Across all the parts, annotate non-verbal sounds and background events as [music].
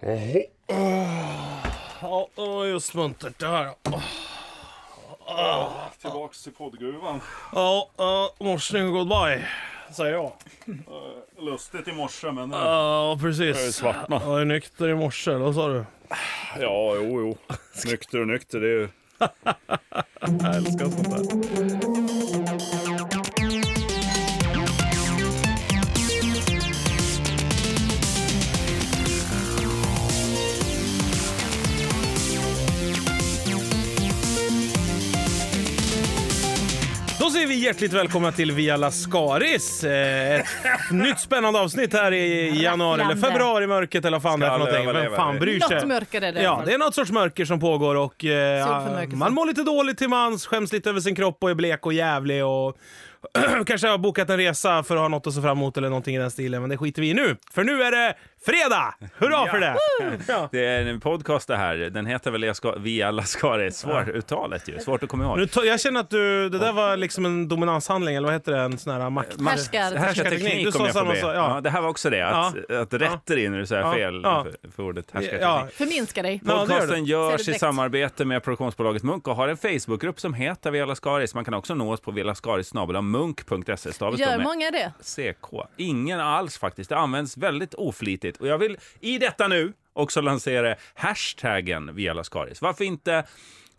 Jaha. Ja, det var just muntert det här. Tillbaks till poddgruvan. Ja, uh, morsning och goodbye, säger jag. Eh, Lustigt i morse men... eh, Ja, precis. Jag är svartna. Jag är nykter i morse, eller vad sa du? Ja, jo, jo. Nykter och nykter, det är [laughs] ju... Jag älskar sånt där. Då säger vi hjärtligt välkomna till Via Lascaris. Eh, Ett nytt spännande avsnitt här i januari eller februari mörkret eller vad fan det är för Ska någonting. överleva Vem fan det. bryr sig? Något mörkare där. Ja, det är något sorts mörker som pågår och eh, Solförmörkelse. man mår lite dåligt till mans, skäms lite över sin kropp och är blek och jävlig och [clears throat] kanske har bokat en resa för att ha något att se fram emot eller någonting i den stilen. Men det skiter vi i nu, för nu är det fredag! Hurra för det! Ja. Det är en podcast det här. Den heter väl Jag ska, Vi alla ska det. Svårt uttalet ju. Svårt att komma ihåg. Nu ta- jag känner att du, det där var liksom en dominanshandling eller vad heter det? En sån här makt... Man- Härskar- Härskarteknik, du Härskarteknik sa om jag får samma be. sak, ja. Ja, det här var också det, att, att rätter in när du säger Ja. fel Ja. för, för ordet Ja. härskarteknik. Förminska dig. Ja, det gör Podcasten det. Ser görs du i direkt. samarbete med produktionsbolaget Munk och har en Facebookgrupp som heter Vela Skaris. Man kan också nå oss på velascaris.munk.se. Stavet står Gör med många det? CK. Ingen alls faktiskt. Det används väldigt oflitigt. Och jag vill i detta nu också lansera hashtaggen Vialaskaris. Varför inte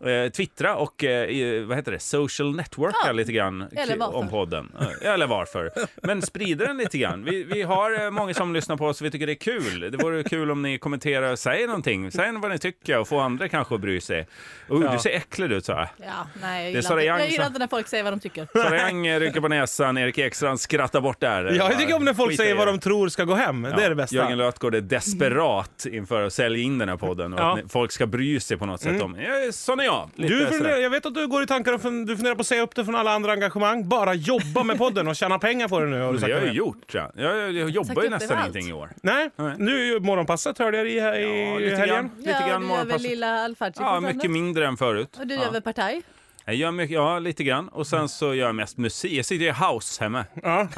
eh, twittra och eh, i- vad heter det, social networka Ja. lite grann k- Eller varför. om podden. Eh, Eller varför. Men sprida den lite grann. Vi, vi har eh, många som lyssnar på oss och vi tycker det är kul. Det vore kul om ni kommenterar och säger någonting. Säg vad ni tycker och få andra kanske att bry sig. Oh, Du ser äcklig ut, Sara. Ja, nej, jag är gillar, Sara inte. Young jag gillar som- inte när folk säger vad [laughs] de tycker. Sara [laughs] Young eh, rycker på näsan, Erik Ekstrand skrattar bort där. Ja, jag tycker om när folk Skit i säger vad er. de tror ska gå hem. Det är det bästa. Jörgen Lötgård är desperat inför att sälja in den här podden och Ja. Mm. att ni- folk ska bry sig på något sätt om "Ja, sån är jag. Lite Du funderar, sådär. jag vet att du går i tankar och fun- du funderar på att säga upp det från alla andra engagemang. Bara jobba med podden och tjäna pengar på det nu har du Det har sagt. jag till har ju mig. gjort. Ja. Jag, jag, jag jobbar ju upp nästan överallt. ingenting i år. Nej, Nej. nu är ju morgonpasset hörde jag i, här i Ja, lite helgen. grann. Lite ja, grann du gör väl morgonpasset. lilla Alfred Ja, mycket mindre än förut. Och du gör ja. väl partaj? Jag gör mycket, ja, lite grann. Och sen så gör jag mest musik. Jag sitter i house hemma. Ja.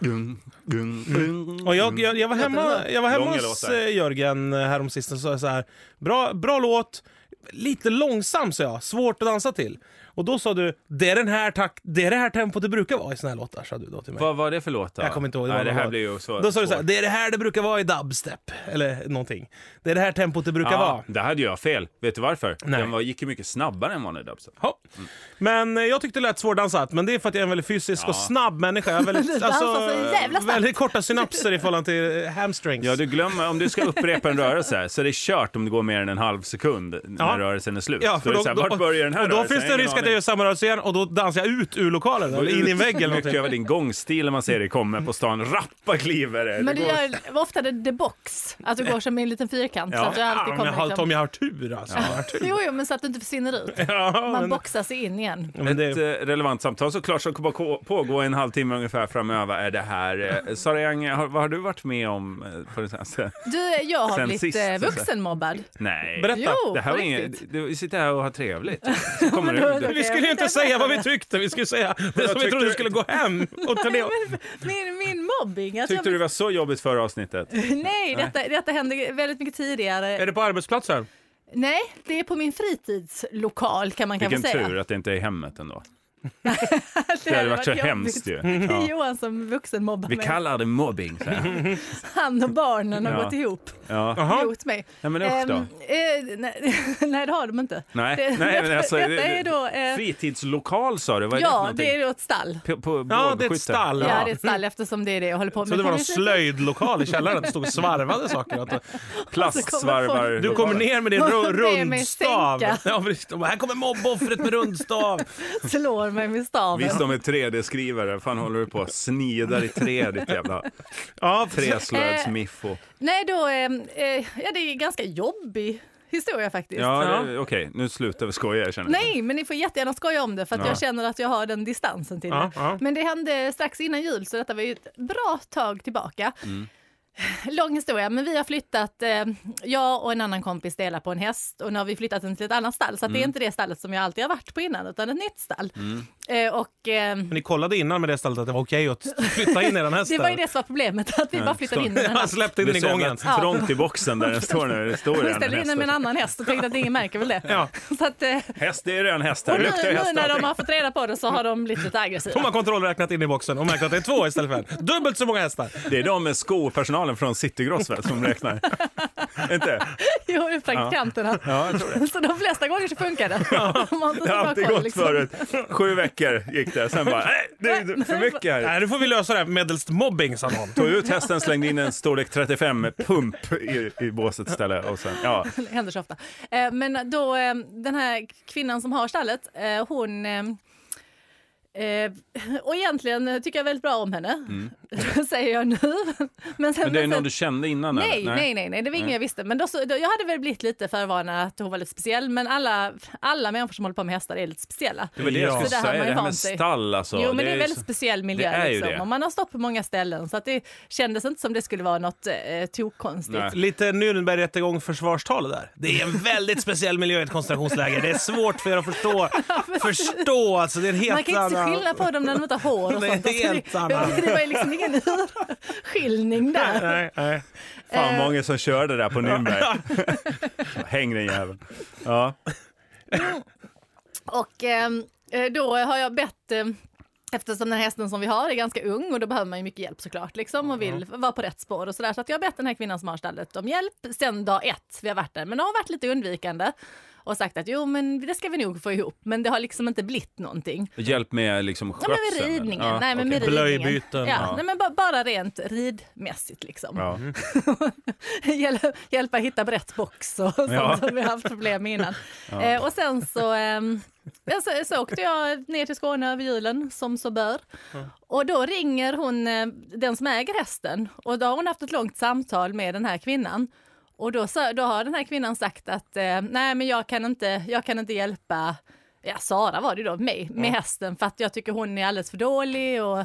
Gung, gung, gung. Och jag, jag, jag var hemma, jag var hemma Långa hos låtar. eh, Jörgen eh, häromsistens och sa jag så här, bra, bra låt, lite långsam sa jag, svårt att dansa till. Och då sa du, det är, den här tak- det, är det här tempot det brukar vara i såna här låtar, sa du då till mig. Vad var det för låt? Då? Jag kommer inte ihåg. Det, var Nej, det någon här låt. blir ju så Då sa du så här, svårt. det är det här det brukar vara i dubstep, eller någonting. Det är det här tempot det brukar vara. Ja, det hade jag fel. Vet du varför? Nej. Den var, gick ju mycket snabbare än vanlig dubstep. Ja. Men eh, jag tyckte det lät svårdansat, men det är för att jag är en väldigt fysisk och snabb människa. Jag är väldigt, [laughs] alltså, dansar så jävla snabbt. väldigt korta synapser i förhållande till eh, hamstrings. Ja, du glömmer, om du ska upprepa en rörelse så är det kört om det går mer än en halv sekund när Ja. rörelsen är slut. Ja, då, är det så här, vart börjar den här och då rörelsen? finns det Ingen risk att jag aning. gör samma rörelse igen och då dansar jag ut ur lokalen, eller in i en vägg eller Mycket någonting. över din gångstil när man ser dig komma på stan. Rappa kliver det. Men Det du går- gör ofta det the box, att du går som en liten fyrkant så Ja. att du alltid Ja, men kommer jag har, liksom- Tom, jag har tur alltså. Jag har tur. Jo, jo, men så att du inte [laughs] försvinner ut. Ja, [laughs] Man men- boxar sig in igen. Ja, men Ett det, eh, relevant samtal såklart som kommer på- pågå en halvtimme ungefär framöver är det här. Eh, Sara Young, har, vad har du varit med om eh, på det senaste? [laughs] Du, jag har Sen blivit sist, eh, så- vuxenmobbad. Nej. Berätta. Jo, Det här på var inget, riktigt. du, vi sitter här och har trevligt. Så kommer Men då- du, du, vi skulle ju inte säga vad vi tyckte, vi skulle säga det som vi tyckte trodde du- skulle gå hem. Och ta [laughs] det. [laughs] Min, min mobbing. Alltså, tyckte du det jag, var så jobbigt förra avsnittet? nej, detta, detta hände väldigt mycket tidigare. Är det på arbetsplatsen? Nej, det är på min fritidslokal kan man kanske Vilken säga. [laughs] tur att det inte är hemmet ändå. Det Det hade varit så jobbigt. hemskt ju. [laughs] Det är Ja. Johan som vuxenmobbar Vi mig. kallar det mobbing. Så här. Han och barnen har Ja. gått ihop Ja. Jaha. mot mig. Nej men usch då. Ehm, eh, nej, [laughs] nej, det har de inte. Nej, det, nej men alltså, [laughs] detta är då... eh, fritidslokal sa du, vad är ja, det det för är då ett stall. någonting? På, på Ja, det är ett bågskytte? stall. Ja, Ja. det är ett stall eftersom det är det jag håller på med. Så det var någon Kan vi säga- slöjdlokal i källaren, att det stod och svarvade saker. Att Plastsvarvar. du kommer ner [laughs] med din ru- Någon ber mig rundstav. sänka. Ja, precis. Och här kommer mobboffret med [laughs] rundstav. Slår mig med staven. Visst de är 3D-skrivare, fan håller du på och snidar i trä ditt jävla Ja, träslöjdsmiffo. Nej, då... ehm, eh, ja, det är en ganska jobbig historia faktiskt. Ja, det- okej, nu slutar vi skoja jag känner. Nej, men ni får jättegärna skoja om det för att Ja. jag känner att jag har den distansen till Ja, det. ja. Mm. Men det hände strax innan jul så detta var ju ett bra tag tillbaka. Lång historia, men vi har flyttat, eh, jag och en annan kompis delar på en häst och nu har vi flyttat den till ett annat stall. Så att det Mm. är inte det stallet som jag alltid har varit på innan utan ett nytt stall. Eh, och, eh, Men ni kollade innan med det stället att det var okej att flytta in eran häst [laughs] det var ju där. det som var problemet, att vi bara flyttade [laughs] in den [laughs] här Han släppte in Det den är i så jävla gången. trångt i boxen där den står nu. Det står Vi redan ställde in den med en häst. annan häst och tänkte att ingen märker väl det. Ja. Så att, eh, Häst, det är redan häst och här. nu, Det luktar ju nu häst när de allting. har fått reda på det så har de blivit lite aggressiva. De har kontrollräknat in i boxen och märkt att det är två istället för en. Dubbelt så många hästar. Det är de med skopersonalen från Citygross väl, som räknar. Inte? [laughs] Jo, praktikanterna. Ja, jag tror det. [laughs] Så de flesta gånger så [laughs] funkar det. De har inte Det så har bra alltid koll, gått liksom. förut. Sju veckor gick det, sen bara nej, det är för mycket här. Nej, nu får vi lösa det här medelst mobbing, sa någon. Tog ut hästen, slängde in en storlek 35-pump i, i båset istället. Och sen, ja. Det [laughs] händer så ofta. Eh, Men då eh, den här kvinnan som har stallet, eh, hon... Eh, eh, och egentligen eh, tycker jag väldigt bra om henne, [laughs] säger jag nu. Men, sen, Mm. Men det är men någon sen- du kände innan? eller? Nej, nej, nej, nej, det var ingen jag visste. Men då, så- då, jag hade väl blivit lite förvarnad att hon var lite speciell. Men alla, alla människor som håller på med hästar är lite speciella. Det var det Ja. jag Så skulle där har säga, man det här ju med vant sig. stall alltså. jo, men det är en ju väldigt så- [laughs] speciell miljö. det är ju liksom. det. Och man har stått på många ställen så att det kändes inte som det skulle vara något eh, tokkonstigt. Nej. Lite Nürnberg-rättegång försvarstal där. Det är en väldigt speciell miljö i ett koncentrationsläger. Det är svårt för er att [laughs] förstå. Förstå alltså, det är en helt Man kan inte se annan- skillnad på dem när de inte har hår och Det är sånt. helt Alltså, det, annan. det var ju liksom ingen urskiljning där. Nej, nej. Fan Eh. många som körde där [laughs] på [laughs] Nürnberg. Häng den jäveln. Ja. Och ehm, eh, då har jag bett, eh, eftersom den här hästen som vi har är ganska ung och då behöver man ju mycket hjälp såklart liksom och vill vara på rätt spår och sådär. Så att jag har bett den här kvinnan som har stallet om hjälp sen dag ett vi har varit där. Men hon har varit lite undvikande och sagt att jo men det ska vi nog få ihop. Men det har liksom inte blivit någonting. Hjälp med liksom Ja, skötseln. men med ridningen. Ja, Nej, men okej. med ridningen. Blöjbyten. Ja, Ja. Nej, men bara, bara rent ridmässigt liksom. Ja. [laughs] Hjäl- hjälpa hitta rätt box och sånt Ja. som vi har haft problem med innan. Eh, och sen så, ehm, ja, så, så åkte jag ner till Skåne över julen som så bör. Och då ringer hon eh, den som äger hästen och då har hon haft ett långt samtal med den här kvinnan. Och då, sa- då har den här kvinnan sagt att eh, nej men jag kan inte, jag kan inte hjälpa Ja, Sara var det ju då, mig, med hästen för att jag tycker hon är alldeles för dålig och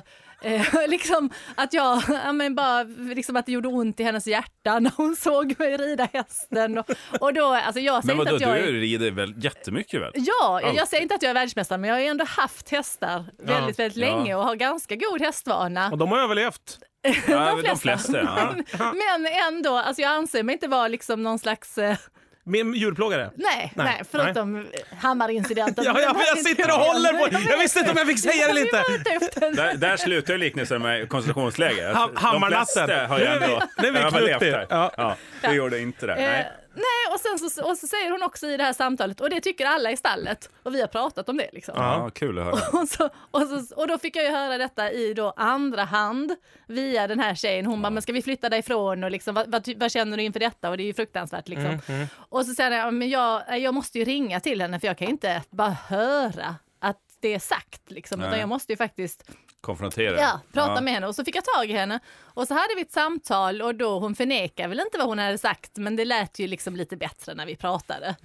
eh, [laughs] liksom att jag, ja, men bara liksom att det gjorde ont i hennes hjärta när hon såg mig rida hästen och, och då, alltså jag säger Men inte vadå, att du jag är rider väl jättemycket [laughs] väl? Ja, jag- Alltid. jag säger inte att jag är världsmästare men jag har ju ändå haft hästar väldigt, väldigt Ja. länge och har ganska god hästvana. Och de har överlevt. Ja, de flesta. ja. [laughs] Men ändå, alltså jag anser mig inte vara liksom någon slags, eh, Min djurplågare. nej, Nej, nej, förutom hammarincidenten. [laughs] Ja, ja, men jag sitter och håller på... Jag visste inte om jag fick säga det eller inte. inte. Där, där slutar ju liknelsen med koncentrationsläger. Ha- hammarnatten. De flesta har ju Nu är vi- ändå nu är vi överlevt knutna. där. Ja. Ja. det gjorde inte det. Eh, Nej. nej, och sen så, och så säger hon också i det här samtalet, och det tycker alla i stallet, och vi har pratat om det liksom. Ja, kul att höra. Och, så, och, så, och då fick jag ju höra detta i då andra hand via den här tjejen. Hon bara, men ska vi flytta därifrån och liksom, vad, vad, ty- vad känner du inför detta? Och det är ju fruktansvärt liksom. Mm, Och så säger jag, "Ja, men jag, nej, jag måste ju ringa till henne för jag kan ju inte bara höra att det är sagt liksom, utan Nej. jag måste ju faktiskt Konfrontera. ja, prata Ja. med henne. Och så fick jag tag i henne och så hade vi ett samtal och då hon förnekar väl inte vad hon hade sagt, men det lät ju liksom lite bättre när vi pratade.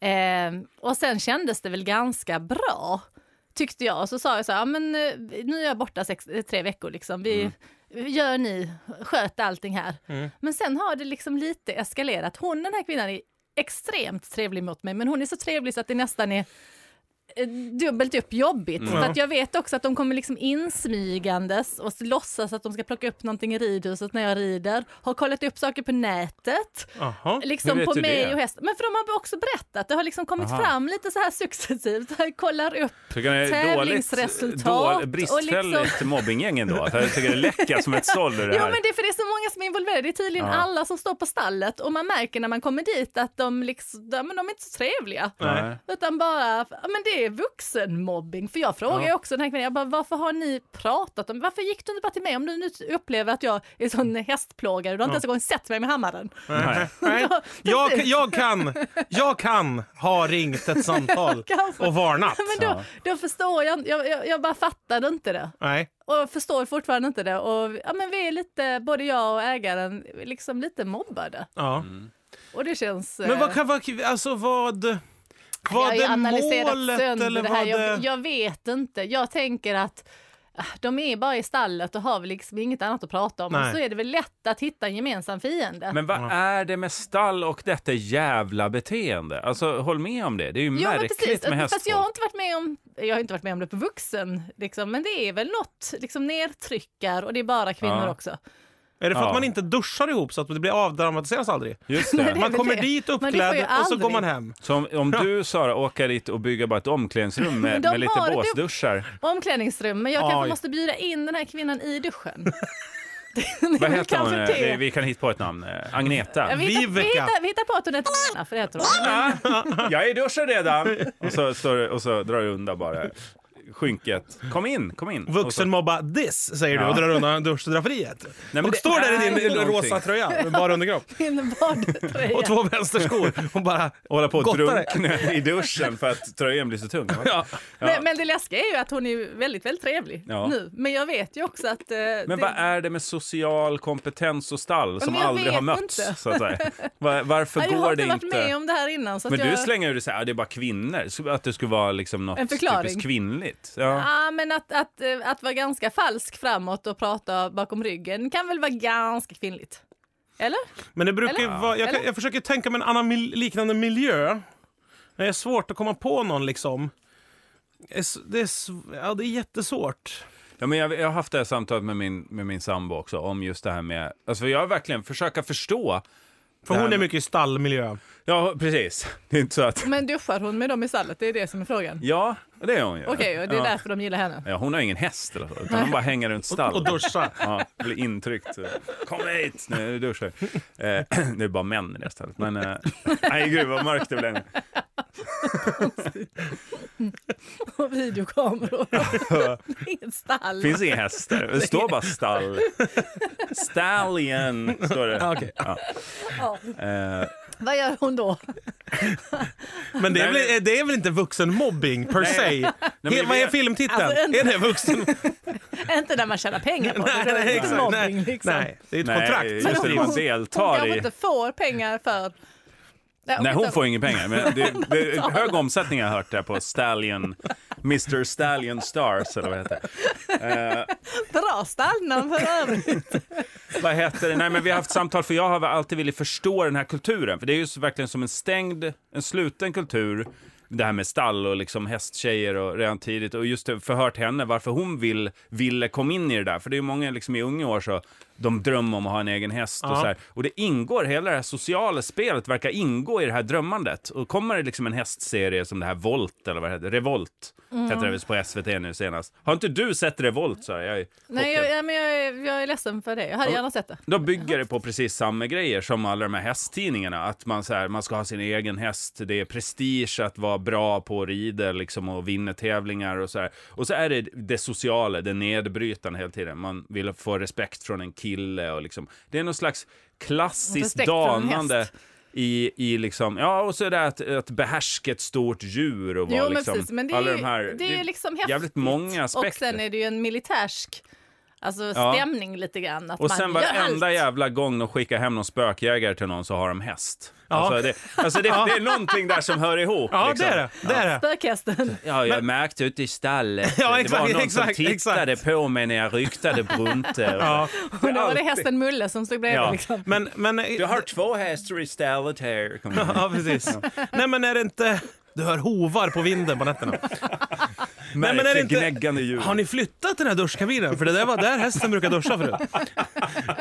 Eh, och sen kändes det väl ganska bra, tyckte jag. Och så sa jag så här, "Ja, men eh, nu är jag borta sex, eh, tre veckor liksom. Vi, Mm. Gör ni, sköt allting här. Men sen har det liksom lite eskalerat. Hon, den här kvinnan, är extremt trevlig mot mig, men hon är så trevlig så att det nästan är eh, dubbelt upp jobbigt. Mm. För att jag vet också att de kommer liksom insmygandes och låtsas att de ska plocka upp någonting i ridhuset när jag rider. Har kollat upp saker på nätet Jaha. Hur liksom vet på du mig det? och hästen. Men för de har också berättat, det har liksom kommit Aha. fram lite så här successivt. [laughs] Jag kollar upp Tycker ni det är dåligt- Tävlingsresultat dåligt- och liksom- Bristfälligt mobbinggäng ändå. Jag tycker det läcker som ett såll [laughs] ur det Jo här. men det är för det är så många som är involverade, det är tydligen Ja. alla som står på stallet och man märker när man kommer dit att de, liksom, ja, men de är inte så trevliga. Nej. Utan bara, ja, men det är vuxenmobbing. För jag frågar ju också den här kvinnan, jag bara, varför har ni pratat om, varför gick du inte bara till mig om du nu upplever att jag är sån hästplågare, du har inte ens en gång sett mig med hammaren. Nej. Nej. Jag, jag, kan, jag kan ha ringt ett [laughs] samtal Kanske. och varnat. Men då, då förstår jag, jag, jag, jag bara fattade inte det. Nej. Och jag förstår fortfarande inte det. Och ja, men vi är lite, både jag och ägaren, liksom lite mobbade. Ja. Mm. Och det känns... Men eh, vad kan... Vad, alltså vad... Jag Vad har ju är analyserat målet sönder eller det här. vad det... Jag, jag vet inte. Jag tänker att ah, de är bara i stallet och har väl liksom inget annat att prata om. Nej. Och så är det väl lätt att hitta en gemensam fiende. Men vad är det med stall och detta jävla beteende? Alltså, håll med om det. Det är ju Ja, men precis. märkligt med Fast hästfolk. jag har inte varit med om, jag har inte varit med om det på vuxen, liksom. men det är väl något, liksom nedtryckar och det är bara kvinnor Ja. också. Är det för Ja. att man inte duschar ihop så att det blir avdramatiseras aldrig? Just det. det- är [laughs] Man väl kommer dit Men det får ju uppklädd och så aldrig- går man hem. Så om, om du, Sara, åker dit och bygger bara ett omklädningsrum med, Men de med lite har det. båsduschar. Omklädningsrum, men jag Oj. kanske måste bjuda in den här kvinnan i duschen. Det är Vad väl heter hon? kanske nu? det. Vi, vi kan hitta på ett namn. Eh, Agneta. Ja, vi, hittar, vi, Viveka. hittar, vi hittar på att hon heter Anna, för det heter [laughs] hon. Jag är i duschen redan! Och så, står, det- och så drar du undan bara skynket. Kom in, kom in. Och så- Vuxenmobba this, säger du Ja. och drar undan duschdraperiet. men och det står där i är din ju rosa någonting. tröja med bara underkropp Min och badtröja. två vänsterskor och bara och hålla på och Gottar dig. drunkna i duschen för att tröjan blir så tung. va? Ja. Ja. Men, men det läskiga är ju att hon är ju väldigt, väldigt trevlig Ja. nu. Men jag vet ju också att... eh, Men det, vad är det med social kompetens och stall som men jag aldrig har vet mötts? inte. Så att säga? Var, varför jag går har det inte varit inte? med om det här innan. Så att Men du jag... slänger ur det så här, "Ah, det är bara kvinnor. Så Att det skulle vara liksom något En förklaring. typiskt kvinnligt. Ja. Ja, men att, att, eh, att vara ganska falsk framåt och prata bakom ryggen kan väl vara ganska kvinnligt? Eller? Men det brukar ju Eller? vara, jag, kan- Eller? jag försöker tänka mig en annan mil, liknande miljö. Det är svårt att komma på någon liksom. Det är, s- det är, sv- ja, det är jättesvårt. Ja, men jag, jag har haft det här samtalet med min, med min sambo också om just det här med, alltså jag har verkligen försöka förstå. För Det här hon är med- mycket i stallmiljö. Ja, precis. [laughs] Det är inte så att, Men duschar hon med dem i stallet? Det är det som är frågan. ja, det är hon ju. Okej, och det är ja. därför de gillar henne. [laughs] Ja, hon har ingen häst eller så, utan hon bara hänger runt stall. Och duscha. Ja, blir intryckt. så. Kom hit! Nu är det duschar. Eh, [clears throat] det är bara män i det stället. Men, eh, [laughs] nej, gud vad mörkt det blev. [laughs] Och videokameror. Inget stall. finns inga hästar. Det står [laughs] bara stall. Stallion, står det. okej. Ja. Ja. Eh, Vad gör hon då? Men det är, Nej, väl, det är väl inte vuxenmobbing per se? men He- vad är jag- filmtiteln? Alltså, en- Är det [laughs] vuxen... Inte när man tjänar pengar på det. nej, det. är nej, inte exakt. mobbning nej, liksom. nej, det är ett nej, kontrakt. just det, Men när hon- man Hon deltar kanske i... inte får pengar för... Nej, hon får inga pengar. Men det, det är hög omsättning har jag hört där på Stallion, Mr Stallion Stars eller vad det heter. Bra stallnamn [laughs] för övrigt. Vad heter det? Nej, men vi har haft samtal för jag har alltid velat förstå den här kulturen. För det är ju så verkligen som en stängd, en sluten kultur. Det här med stall och liksom hästtjejer och redan tidigt och just det, förhört henne varför hon vill, ville komma in i det där. För det är ju många liksom i unga år så de drömmer om att ha en egen häst och Ja. så här. Och det ingår, hela det här sociala spelet verkar ingå i det här drömmandet. Och kommer det liksom en hästserie som det här Volt eller vad det heter, Revolt Mm. heter det visst på SVT nu senast. Har inte du sett Revolt? Så här? Jag är Nej, chockad. jag, ja, men jag, är- jag är ledsen för det. Jag hade gärna sett det. De bygger det på precis samma grejer som alla de här hästtidningarna. Att man, så här, man ska ha sin egen häst, det är prestige att vara bra på rider liksom, och vinna tävlingar och så här. Och så är det det sociala, det nedbrytande hela tiden. Man vill få respekt från en kille och liksom. Det är någon slags klassiskt Respekt från en danande. häst. I, I liksom, ja och så är det att, att behärska ett stort djur och vara Jo, men liksom, precis. Men det är, alla ju- de här, det är ju liksom häftigt. jävligt många aspekter. Och sen är det ju en militärsk alltså, Ja. stämning lite grann. Att Och man sen gör varenda allt. jävla gång de skickar hem någon spökjägare till någon så har de häst. Ja. Alltså, det, alltså det, det är någonting där som hör ihop. Ja, liksom. det är det. det, är det. [laughs] Spökhästen. Ja, jag märkte ute i stallet. Ja, det var exakt, någon exakt, som tittade på mig när jag ryktade brunte. [laughs] Ja. Och då var det hästen Mulle som stod bredvid. Ja. Liksom. Men, men, Du har två hästar i stallet här. Kom igen. [laughs] Ja, precis. Nej, men är det inte... Du hör hovar på vinden på nätterna. Märklig men är det inte- gnäggande ljud. Har ni flyttat den här duschkabinen? För det där var där hästen brukar duscha förut.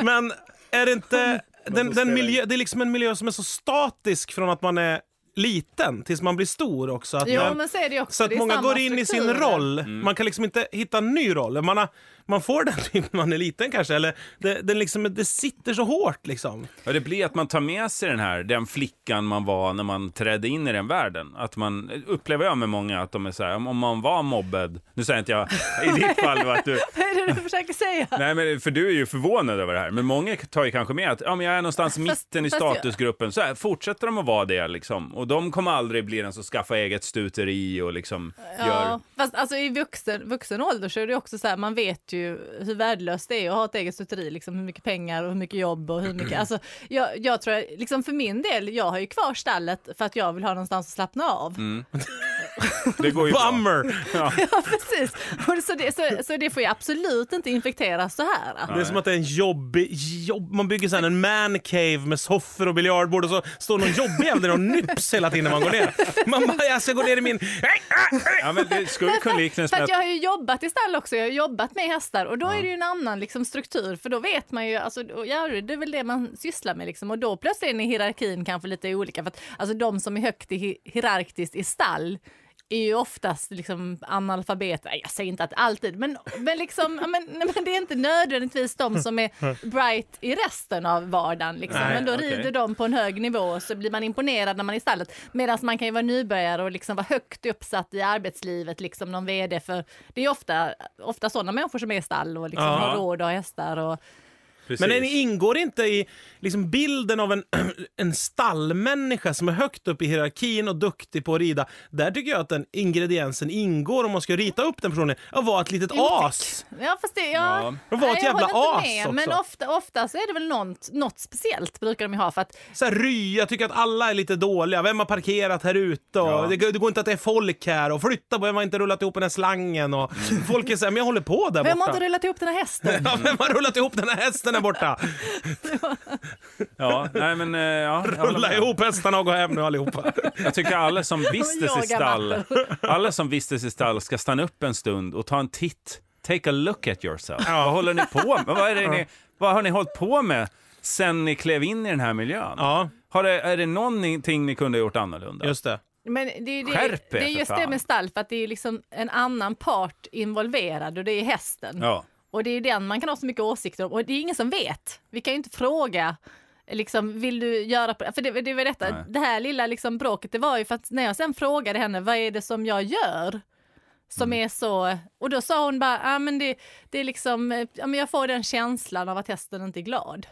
Men är det inte... Den, den miljö, det är liksom en miljö som är så statisk från att man är liten tills man blir stor också. Att Jo, man, men så är det ju också. så att det är många samma går in i sin strukturer. roll. Man kan liksom inte hitta en ny roll. Man, har, man får den typ när man är liten kanske. Eller det, den liksom, det sitter så hårt liksom. Ja, det blir att man tar med sig den här, den flickan man var när man trädde in i den världen. Att man, upplever jag med många, att de är så här, om man var mobbad, nu säger inte jag i ditt [laughs] fall att du, Vad är [laughs] det du försöker säga? Nej, men för du är ju förvånad över det här. Men många tar ju kanske med att ja, men jag är någonstans mitten i fast jag- statusgruppen. Så här, fortsätter de att vara det liksom. Och de kommer aldrig bli den som skaffar eget stuteri och liksom gör... Ja, fast alltså i vuxen, vuxen ålder så är det också så här, man vet ju hur värdelöst det är att ha ett eget stuteri, liksom hur mycket pengar och hur mycket jobb och hur mycket, alltså jag, jag tror, jag- liksom för min del, jag har ju kvar stallet för att jag vill ha någonstans att slappna av. Det går ju bra. Bummer! Ja, [laughs] precis. Och så, det, så, så det får ju absolut inte infekteras så här. Det är som att det är en jobbig... Jobb, man bygger sen en man cave med soffor och biljardbord och så står någon jobbig jävel där och nyps hela tiden när man går ner. Man bara, jag ska gå ner i min... Ja, men det skulle kunna liknas För med att... att jag har ju jobbat i stall också, jag har jobbat med hästar och då är det ju en annan liksom, struktur för då vet man ju, alltså, och ja, det är väl det man sysslar med liksom. och då plötsligt är hierarkin kanske lite olika för att alltså, de som är högt i, hi- hierarkiskt i stall är ju oftast liksom analfabeter, Nej, jag säger inte att alltid, men, men, liksom, ja, men, nej, men det är inte nödvändigtvis de [laughs] som är bright i resten av vardagen. Liksom. Nej, men då okej. rider de på en hög nivå och så blir man imponerad när man är i stallet. Medan man kan ju vara nybörjare och liksom vara högt uppsatt i arbetslivet, liksom någon vd för det är ju ofta, ofta sådana människor som är i stall och liksom Ja. har råd och har hästar. Och, Men den ingår inte i liksom bilden av en, [clears throat] en stallmänniska som är högt upp i hierarkin och duktig på att rida. Där tycker jag att den ingrediensen ingår om man ska rita upp den personen, att vara ett litet as. Ja, fast det, ja. Ja. De var ett Nej, jag jävla håller inte as med, också. Men ofta, ofta så är det väl något, något speciellt brukar de ju ha för att Så här ry, jag tycker att alla är lite dåliga. Vem har parkerat här ute? Och det, går- det går inte att det är folk här. Och flytta på, vem har inte rullat ihop den här slangen? Och Mm. folk är så här, men jag håller på där vem har borta. inte rullat ihop den här [laughs] hästen? Ja, vem har rullat ihop den här hästen där borta? Ja, nej, men, eh, ja, [laughs] jag håller Rulla med. ihop hästarna och gå hem nu allihopa. Jag tycker alla som vistas i Jaga stall, alla som vistas i stall ska stanna upp en stund och ta en titt. Take a look at yourself. Vad håller ni på med? Vad, är det ni, vad har ni hållit på med sen ni klev in i den här miljön? Ja, Har det, är det någonting ni kunde ha gjort annorlunda? just det. Men det, är ju det, Skärp er, det är för just fan. det med stall, för att det är ju liksom en annan part involverad och det är hästen. Ja. Och det är ju den man kan ha så mycket åsikter om och det är ingen som vet. Vi kan ju inte fråga Liksom, vill du göra på det? För det, det var detta, Nej. det här lilla liksom bråket, det var ju för att när jag sen frågade henne, vad är det som jag gör? Som Mm. är så, och då sa hon bara, ah, men det, det är liksom, eh, ja, men jag får den känslan av att hästen inte är glad.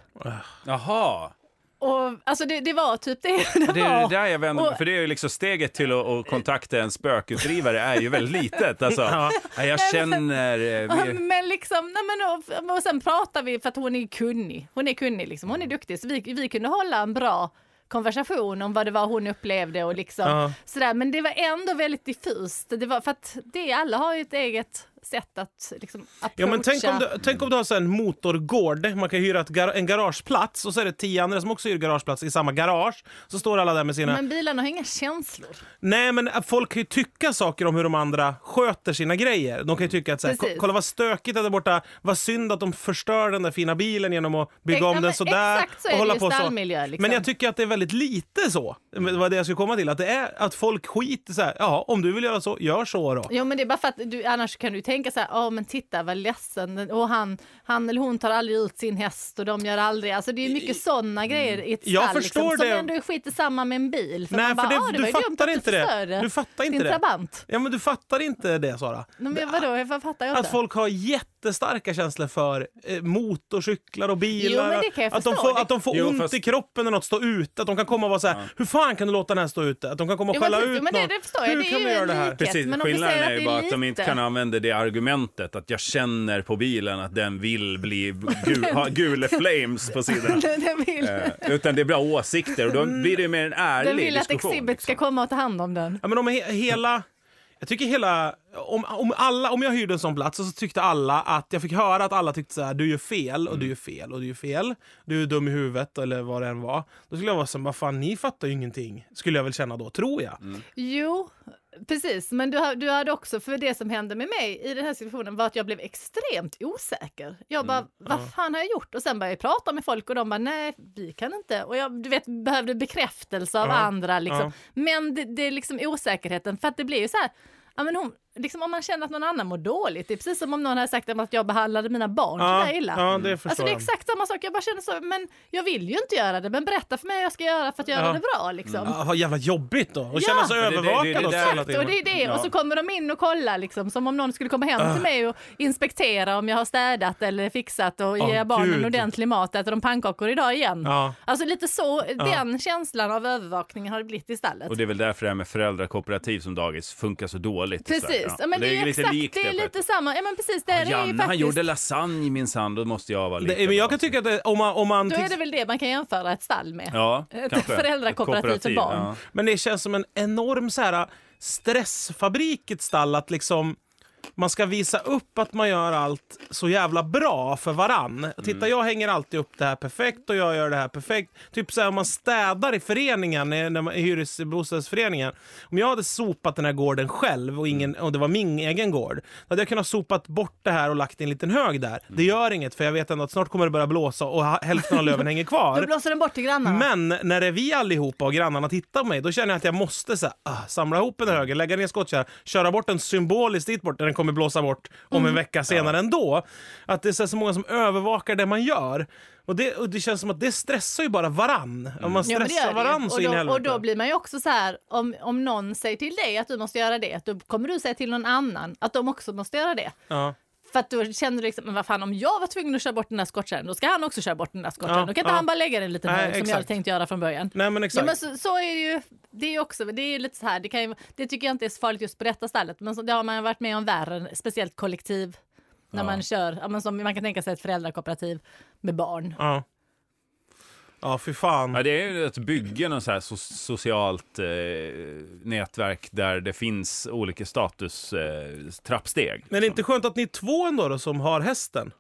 Jaha, Och alltså det, det var typ det [laughs] det, det är var. det där jag vänder mig Och- För det är ju liksom steget till att, att kontakta en spökutdrivare är ju väldigt litet. Alltså, Nej, jag känner... eh, vi- Men liksom, nej men och, och sen pratar vi för att hon är kunnig. Hon är kunnig liksom, hon är Mm. duktig. Så vi, vi kunde hålla en bra konversation om vad det var hon upplevde och liksom Ja. sådär. Men det var ändå väldigt diffust. Det var för att det, alla har ju ett eget sätt att liksom approacha. Ja, men tänk, om du, tänk om du har så här en motorgård, man kan hyra ett gar en garageplats och så är det tio andra som också hyr garageplats i samma garage. Så står alla där med sina... Men bilarna har inga känslor. Nej, men att folk kan ju tycka saker om hur de andra sköter sina grejer. De kan ju tycka att så här, Mm. Precis. "Ko- kolla vad stökigt det är där borta, vad synd att de förstör den där fina bilen genom att bygga Ja, om men den sådär. exakt så och är det hålla ju på stallmiljö, liksom. Men jag tycker att det är väldigt lite så. Men Det var det jag skulle komma till, att det är att folk skiter så här, ja, om du vill göra så, gör så då. Jo men det är bara för att du, annars kan du tänka så här, ja men titta vad ledsen, den- och han, han eller hon tar aldrig ut sin häst och de gör aldrig, alltså det är mycket sådana grejer i ett mm. Jag stall förstår liksom, som det. ändå är skit samma med en bil. För Nej, man bara, för det, "Ah, det var du ju dumt att fattar du inte det. förstörde Du fattar inte din det. Trabant. Ja, men du fattar inte det, Sara. Men jag- vadå, jag fattar jag Att inte. folk har jättestarka känslor för eh, motorcyklar och bilar. Jo, men det kan jag att, de förstå. får, att de får Jo, ont fast- i kroppen när något står ute. Att de kan komma och vara så här, hur fan kan du låta den här stå ute? Att de kan komma och Jo, men skälla precis. ut Jo, men det- någon. det förstår jag. Hur Det är kan ju du göra det en här? likhet. Precis, Men om vi skillnaden säger är att ju det är bara att de inte lite. kan använda det argumentet att jag känner på bilen att den vill bli gul, [laughs] ha gula flames på sidan. [laughs] den vill, Eh, Utan det blir bara åsikter och då blir det ju mer en ärlig den Mm. vill att diskussion. liksom. Exhibit ska liksom. komma och ta hand om den. Ja, men om he hela... Jag tycker hela... Om, om, alla, om jag hyrde en sån plats och så tyckte alla att... Jag fick höra att alla tyckte så här, du gör fel Mm. och du gör fel och du gör fel. Du är dum i huvudet eller vad det än var. Då skulle jag vara så här, vad fan, ni fattar ju ingenting. Skulle jag väl känna då, tror jag. Mm. Jo, precis. Men du, har- du hade också, för det som hände med mig i den här situationen var att jag blev extremt osäker. Mm, Jag bara, vad fan har jag gjort? Och sen började jag prata med folk och de bara, nej, vi kan inte. Och jag du vet, behövde bekräftelse av Ja, andra. Liksom. ja. Men det, det är liksom osäkerheten, för att det blir ju så här, ja, men hon, liksom, om man känner att någon annan mår dåligt, det är precis som om någon hade sagt att jag behandlade mina barn så där illa. ja, Mm. det förstår Alltså det är jag. exakt samma sak, jag bara känner så, men jag vill ju inte göra det, men berätta för mig hur jag ska göra för att göra Ja. Mm, det bra. Liksom. Ja, vad jävla jobbigt då! Och Ja. känna sig Men det- det- det- övervakad det- det också där- hela tiden. Och det är det. Ja. Och så kommer de in och kollar liksom, som om någon skulle komma hem till mig och inspektera om jag har städat eller fixat och Åh, ger jag barnen Gud. ordentlig mat, äter de pannkakor idag igen? Ja. Alltså lite så, den känslan av övervakningen har det blivit i stallet. Och det är väl därför det här med föräldrakooperativ som dagis funkar så dåligt. i Sverige. precis. Ja, men det, är ju lite exakt, likt det är det, lite samma. Ja, men precis. Det här är ju Janne, faktiskt... han gjorde lasagne minsann, då måste jag vara lite Det, men jag bra. kan tycka att det, om man... Om man Då till- är det väl det man kan jämföra ett stall med. Ja, Ett kanske. föräldrakooperativ för Ett kooperativ, barn. ja. Men det känns som en enorm så här, stressfabrik i ett stall att liksom man ska visa upp att man gör allt så jävla bra för varann. Titta, jag hänger alltid upp det här perfekt och jag gör det här perfekt. Typ så här om man städar i föreningen, eh, när man, i hyresbostadsföreningen. Om jag hade sopat den här gården själv och, ingen, och det var min egen gård, då hade jag kunnat sopat bort det här och lagt i en liten hög där. Det gör inget, för jag vet ändå att snart kommer det börja blåsa och ha- hälften av löven hänger [laughs] kvar. Då blåser den bort till grannarna. Men när det är vi allihopa och grannarna tittar på mig, då känner jag att jag måste så här, ah, samla ihop en höger, lägga ner skottkärran, köra bort den symboliskt dit bort, där den kommer blåsa bort om Mm. en vecka senare ändå. Att det är så, här, så många som övervakar det man gör. Och det, och det känns som att det stressar ju bara varann. Om man Mm. Ja, men det gör stressar det ju. varann så och, in i då, helvete. och då blir man ju också så här, om, om någon säger till dig att du måste göra det, då kommer du säga till någon annan att de också måste göra det. ja. För att då känner du liksom, men vad fan om jag var tvungen att köra bort den där skottkärran, då ska han också köra bort den där skottkärran. Ja, då kan inte ja. han bara lägga den lite Nej, hög som jag hade exakt. tänkt göra från början. Nej men Ja, exakt. men så, så är det ju. Det är ju också, det är ju lite så här, det, kan ju, det tycker jag inte är så farligt just på detta stället, men så, det har man ju varit med om värre, speciellt kollektiv. När man kör, ja, men som man kan tänka sig ett föräldrakooperativ med barn. Ja. Ja, fy fan. Ja, det är ju ett bygge, något så här so socialt eh, nätverk där det finns olika status eh, trappsteg. Men det är inte skönt att ni är två ändå då, som har hästen?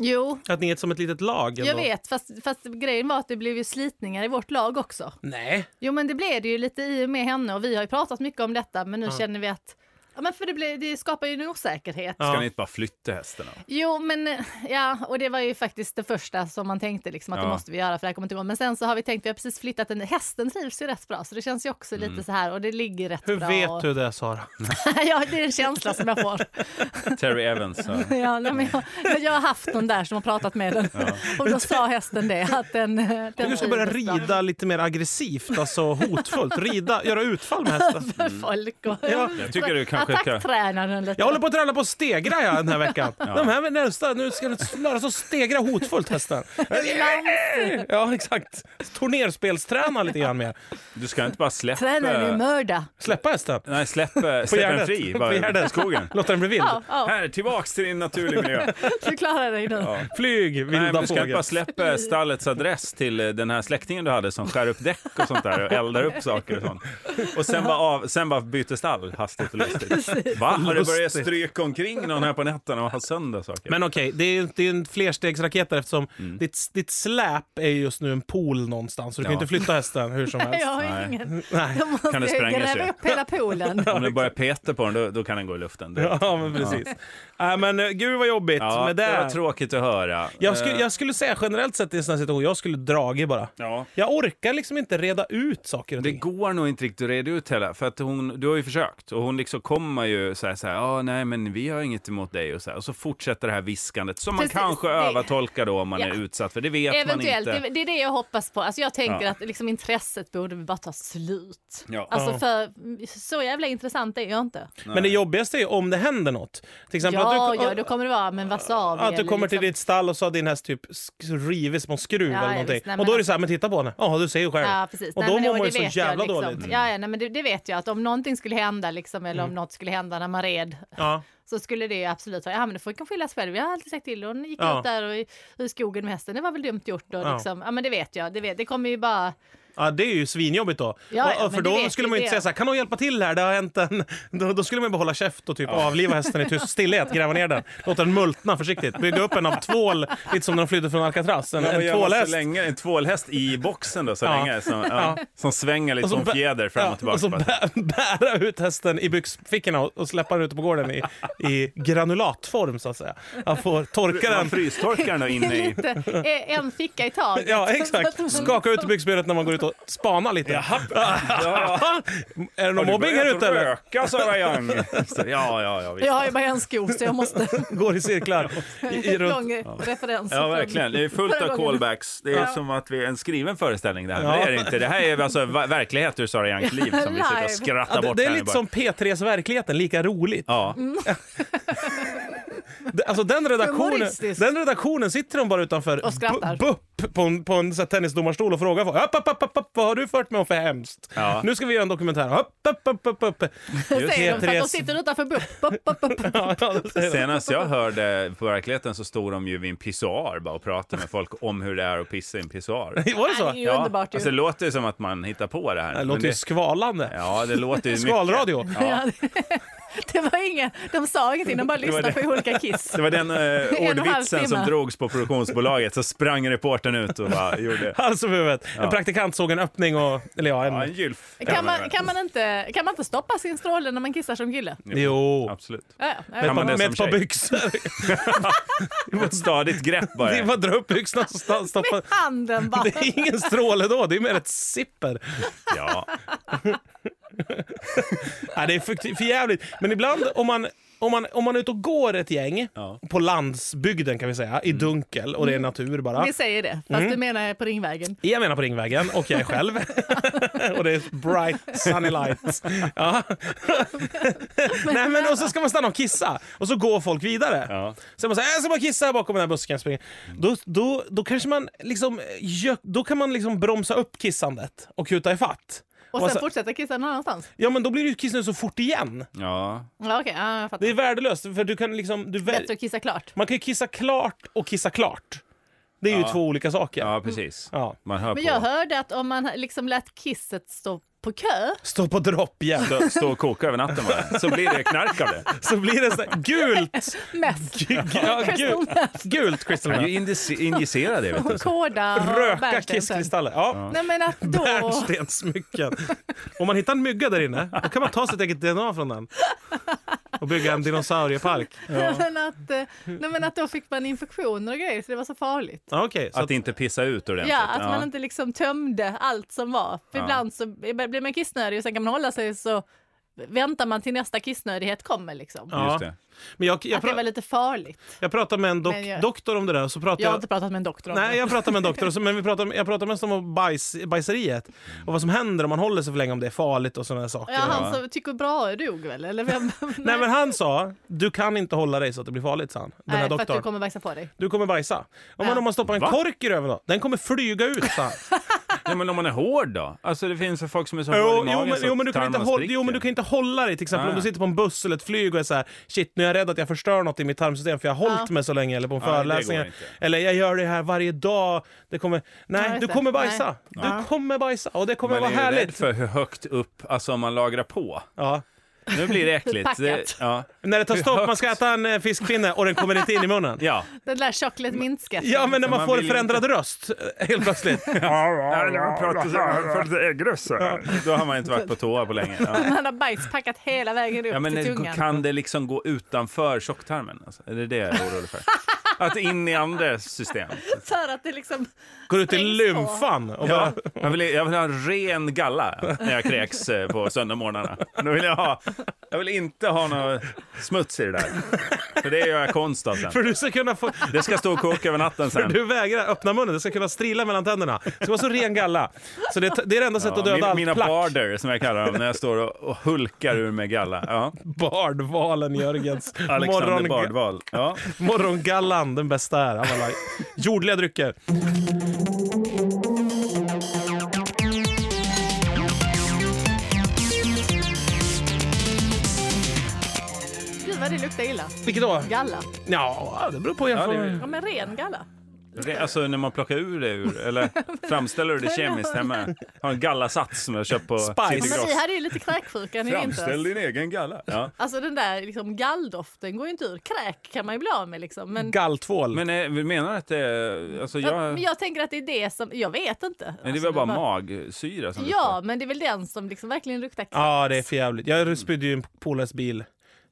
Jo, Att ni är ett som ett litet lag? Ändå. jag vet, fast, fast grejen var att det blev ju slitningar i vårt lag också. Nej. Jo, men det blev det ju lite i och med henne och vi har ju pratat mycket om detta, men nu känner vi att Ja, men för det, blev, det skapar ju en osäkerhet. Ja. Ska ni inte bara flytta hästarna? Jo, men eh, ja, och det var ju faktiskt det första som man tänkte liksom, att det Ja. måste vi göra för det här kommer inte gå. Men sen så har vi tänkt, vi har precis flyttat den, hästen trivs ju rätt bra så det känns ju också lite så här och det ligger rätt Hur bra. vet du det Sara? [laughs] ja, det är en känsla som jag får. [laughs] Terry Evans. [laughs] ja. ja, nej, men jag, jag har haft någon där som har pratat med den och då sa hästen det att den... eh, den Du ska börja trivdes bra rida lite mer aggressivt, alltså hotfullt. Rida, göra utfall med hästen. För [laughs] folk och Ja, jag tycker du kanske ska- Attackträna den lite. Jag håller på att träna på att stegra jag, den här veckan. De här nästa, nu ska jag lära sig att stegra hotfullt hästen. Ja, exakt. Turnerspelsträna lite grann mer. Du ska inte bara släppa... Träna den i mörda. Släppa hästen. Nej, släpp, eh, släpp den Gärdet. fri På bara i Gärdet. skogen. Låt den bli vild. Ja, ja, Här, tillbaks till din naturliga miljö. du klarar dig nu. Flyg, Nej, men vilda du ska inte bara fågel. släppa stallets adress till eh, den här släktingen du hade som skär upp däck och sånt där och eldar upp saker och sånt. Och sen bara, av, sen bara byter stall hastigt och lustigt. Va? Har du börjat Lustigt. stryka omkring någon här på nätterna och ha sönder saker? Men okej, det är, det är en flerstegsraket där eftersom Mm. ditt, ditt släp är ju just nu en pool någonstans. Så du kan Ja. ju inte flytta hästen hur som helst. Jag har Nej. ju ingen... Nej. Då måste Kan det jag spränga gräva sig? upp hela poolen. Om du börjar peta på den, då, då kan den gå i luften. direkt. Ja, men precis. Nej, men eh, gud vad jobbigt Ja, med det det. var tråkigt att höra. Jag, skulle, Eh, jag skulle säga generellt sett i en sån här situation, jag skulle dragit bara. Ja. Jag orkar liksom inte reda ut saker och Det ting. går nog inte riktigt att reda ut heller, för att hon, du har ju försökt och hon liksom kommer ju säga så här, ja nej men vi har inget emot dig och så här, och så fortsätter det här viskandet som man Precis, kanske det- övertolkar då om man Ja. är utsatt för, det vet Eventuellt, man det, inte. det är det jag hoppas på. Alltså jag tänker Ja. att liksom intresset borde väl bara ta slut. Ja. Alltså Ja. för så jävla intressant är jag inte. Men det jobbigaste är ju om det händer något. Till exempel Ja, att du, ja, då kommer det vara, men vad sa vi? att du Eller kommer till liksom- ditt stall och så har din häst typ sk- rivit små skruv Ja, ja, eller någonting. visst. Nej, men och då är det alltså- så här, men titta på henne. Ja, du ser ju själv. Ja, precis. Och Nej, då men mår man det- ju det så vet jag jävla liksom. dåligt. Mm. Ja, ja, nej, men det, det vet jag att om någonting skulle hända liksom, eller om något skulle hända när man red Ja. så skulle det absolut vara, ja men du får kan skilja sig själv. Jag har alltid sagt till hon gick Ja. ut där och i, i skogen med hästen, det var väl dumt gjort. Och Ja. liksom, ja men det vet jag, det, vet, det kommer [laughs] ju bara ja, det är ju svinjobbigt då. Ja, Och- ja, och, för men du då vet skulle ju man ju det. inte säga så här, kan någon hjälpa till här? Det har hänt en... [laughs] Då, då skulle man ju bara hålla käft och typ avliva hästen i tyst stillhet, gräva ner den, låta den multna försiktigt, bygga upp en av tvål, lite som när de flydde från Alcatraz. En, en tvålhäst. Så länge, en tvålhäst i boxen då, så Ja. länge, som, ja, Ja. som svänger lite Och så som bä- fjäder fram och tillbaka. Och så bara. bä, [laughs] bära ut hästen i byxfickorna och, och släppa den ute på gården i, i granulatform så att säga. Han får torka man den. frystorkar den då inne i... lite, eh, en ficka i taget. Ja, Så [laughs] att exakt. man- Skaka ut byxbenet när man går ut och spana lite. [laughs] Ja. [laughs] Är det någon Har du mobbing här börjat ute eller? röka Sara Young? Så, [laughs] ja, ja, ja. Visst. Jag har ju bara en sko så jag måste... Går i cirklar. [laughs] I, [laughs] i runt. Lång referens. Ja, verkligen. Det är fullt Förra av gången. callbacks. Det är som att vi är en skriven föreställning det här. Men Ja. det är det inte. Det här är alltså va- verklighet ur Sara Youngs liv som vi sitter och Live. skrattar Ja, det, bort. det är här i lite början. som P3s Verkligheten, lika roligt. Ja. Mm. Det- Alltså den redaktionen, Humoristiskt. den redaktionen sitter de bara utanför Och skrattar. bu- upp på en, på en så här, tennisdomarstol och frågar folk, upp, upp, upp, upp, upp, vad har du fört med om för hemskt? Ja. Nu ska vi göra en dokumentär. Upp, upp, upp, upp, upp. Säger de, för att de Therese- sitter utanför BUP. bup, bup, bup, bup. Ja, ja, det säger de. Senast jag hörde på verkligheten så stod de ju vid en pissoar bara och pratade med folk om hur det är att pissa i en pissoar. [laughs] Var [laughs] det Nej, så? det är ju underbart ju. Alltså, det låter ju som att man hittar på det här. Det men låter ju skvalande. Ja, [laughs] det låter ju mycket. Skvalradio. Ja. Det [laughs] var ingen, de sa ingenting, de bara lyssnade på olika Kiss. Det var [laughs] den och eh, en halv ordvitsen som timme. drogs på produktionsbolaget. Så sprang reportern ut och bara [laughs] gjorde... Alltså för huvudet. En praktikant såg en öppning och... Eller ja, en... Ja, en gylf. Kan man, kan, man inte, kan man inte stoppa sin stråle när man kissar som kille? Jo. Absolut. Ja, ja, ja. Kan man det med som ett par tjej? byxor. Ett stadigt grepp bara. [laughs] Det är bara att dra upp byxorna och sta- stoppa... Med handen [laughs] bara. Det är ingen stråle då, det är mer ett sipper. Ja. Nej, det är för, för jävligt. Men ibland om man, om, man, om man är ute och går ett gäng, Ja. Mm. på landsbygden kan vi säga, i dunkel och det Mm. är natur bara. Vi säger det, fast Mm. du menar på Ringvägen. Jag menar på Ringvägen och jag är själv. [laughs] och det är bright sunny lights. Ja. [laughs] Nej, men, och så ska man stanna och kissa och så går folk vidare. Ja. Så är man säger jag ska bara kissa här bakom den här busken. jag springer." Då, då, då kanske man liksom, gö- då kan man liksom bromsa upp kissandet och kuta i fatt. Och sen Och så- fortsätta kissa någon annanstans. Ja men då blir du kissnödig så fort igen. ja. Ja, okej, ja, jag fattar. Det är värdelöst för du kan liksom, du väl, Bättre att kissa klart. man kan ju kissa klart och kissa klart. Det är ju Ja. två olika saker. Ja, precis. Ja. Man hör Men på. jag hörde att om man liksom lät kisset stå på kö Stå på dropp igen. Stå, stå och koka över natten bara. Så blir det knark av det. Så blir det så här, [laughs] gult! mest. Gu- ja, Crystal gult, gult crystal Man meth. ju indice- injicera det, vet du. Så. Koda och Röka Berntsen. kisskristaller. Ja. Nej men att då... [laughs] Bärnstensmycken. Om man hittar en mygga där inne, då kan man ta sitt eget DNA från den. Och bygga en dinosauriepark. Nej, men att, eh, nej men att då fick man infektioner och grejer så det var så farligt. Ja, Okej, så Att att, inte pissa ut ordentligt. Ja, att man inte liksom tömde allt som var. För Ja. ibland så blir man kissnödig och sen kan man hålla sig så väntar man till nästa kissnödighet kommer liksom. Ja. Just det. men jag, jag, Att det var pra- lite farligt. jag pratade med en dok- Men jag- doktor om det där. och Så pratade Jag har inte pratat med en doktor om Nej, det. jag pratar med en doktor, och [laughs] så- men vi pratar, jag pratar mest om bajs, bajseriet och vad som händer om man håller sig för länge, om det är farligt och sådana saker. Ja, han som tycker bra dog väl? Eller [laughs] vem? Nej, men han sa, du kan inte hålla dig så att det blir farligt, sa han. Den här Nej, för att doktorn. du kommer bajsa på dig. Du kommer bajsa. Om man, Ja. om man stoppar en Va? kork i röven då, den kommer flyga ut, sa han. Ja, men om man är hård då? Alltså [laughs] det finns ju folk som är så Jo, hård i jo, magen men, så jo, men du kan tarmarna inte hålla, jo, men spricker. du kan inte hålla dig. Till exempel Nej. om du sitter på en buss eller ett flyg och är så här, shit, nu är jag rädd att jag förstör något i mitt tarmsystem för jag har hållit mig så länge. Eller på en Nej, det går föreläsning. inte. Eller jag gör det här varje dag. Det kommer... Nej, Ja, just du det. kommer bajsa. Nej. Du Ja. kommer bajsa. Och det kommer vara Man är ju rädd härligt. för hur högt upp, alltså om man lagrar på. Ja. Nu blir det äckligt. Det, Packat. ja. När det tar Hur stopp, man högt? ska äta en eh, fiskpinne och den kommer inte in i munnen. ja. Den där chocolate mintsket. Ja, men när man, man får vill en förändrad röst eh, helt [laughs] plötsligt. Då har man inte varit på toa på länge. Ja. Han har bajspackat hela vägen upp Ja, men till det- tungan. kan det liksom gå utanför tjocktarmen? Alltså, är det det jag är orolig för? Att in i andra system. För att det liksom... Går ut i Sprängs lymfan. Och bara, Ja, jag, vill, jag vill ha en ren galla när jag kräks eh, på söndagsmorgnarna. Nu vill jag, ha, jag vill inte ha någon smuts i det där. För det gör jag konst av sen. för du ska kunna [laughs] få... Det ska stå och koka över natten sen. Du vägrar öppna munnen, det ska kunna strila mellan tänderna. Det ska vara så ren galla. Så det, det är det enda sättet Ja, att döda min- allt mina plack. barder, som jag kallar dem, när jag står och, och hulkar ur med galla. Ja. Bardvalen Jörgens. [laughs] Alexander Morgonga- Bardval. Ja. Morgongallan, den bästa är. Han var like, jordliga drycker. Gud vad det luktar illa. Vilket då? Galla. Ja, det beror på. Ja, Ja, det- Ja men ren galla. Det- Alltså när man plockar ur det ur, [laughs] eller framställer du det kemiskt hemma. Har en gallasats som jag köpt på Spice. Ja, City men Gross. vi hade ju lite kräksjuka nu i Framställ vintras. din egen galla. Ja. Alltså den där liksom galldoften går ju inte ur. Kräk kan man ju bli av med liksom. Men Galltvål. Men eh, vi menar att det alltså, jag, jag, men jag tänker att det är det som, jag vet inte. men det är Alltså, väl bara magsyra som Ja, men det är väl den som liksom verkligen luktar kräk. Ja, det är för jävligt. Jag spydde ju i en polares bil.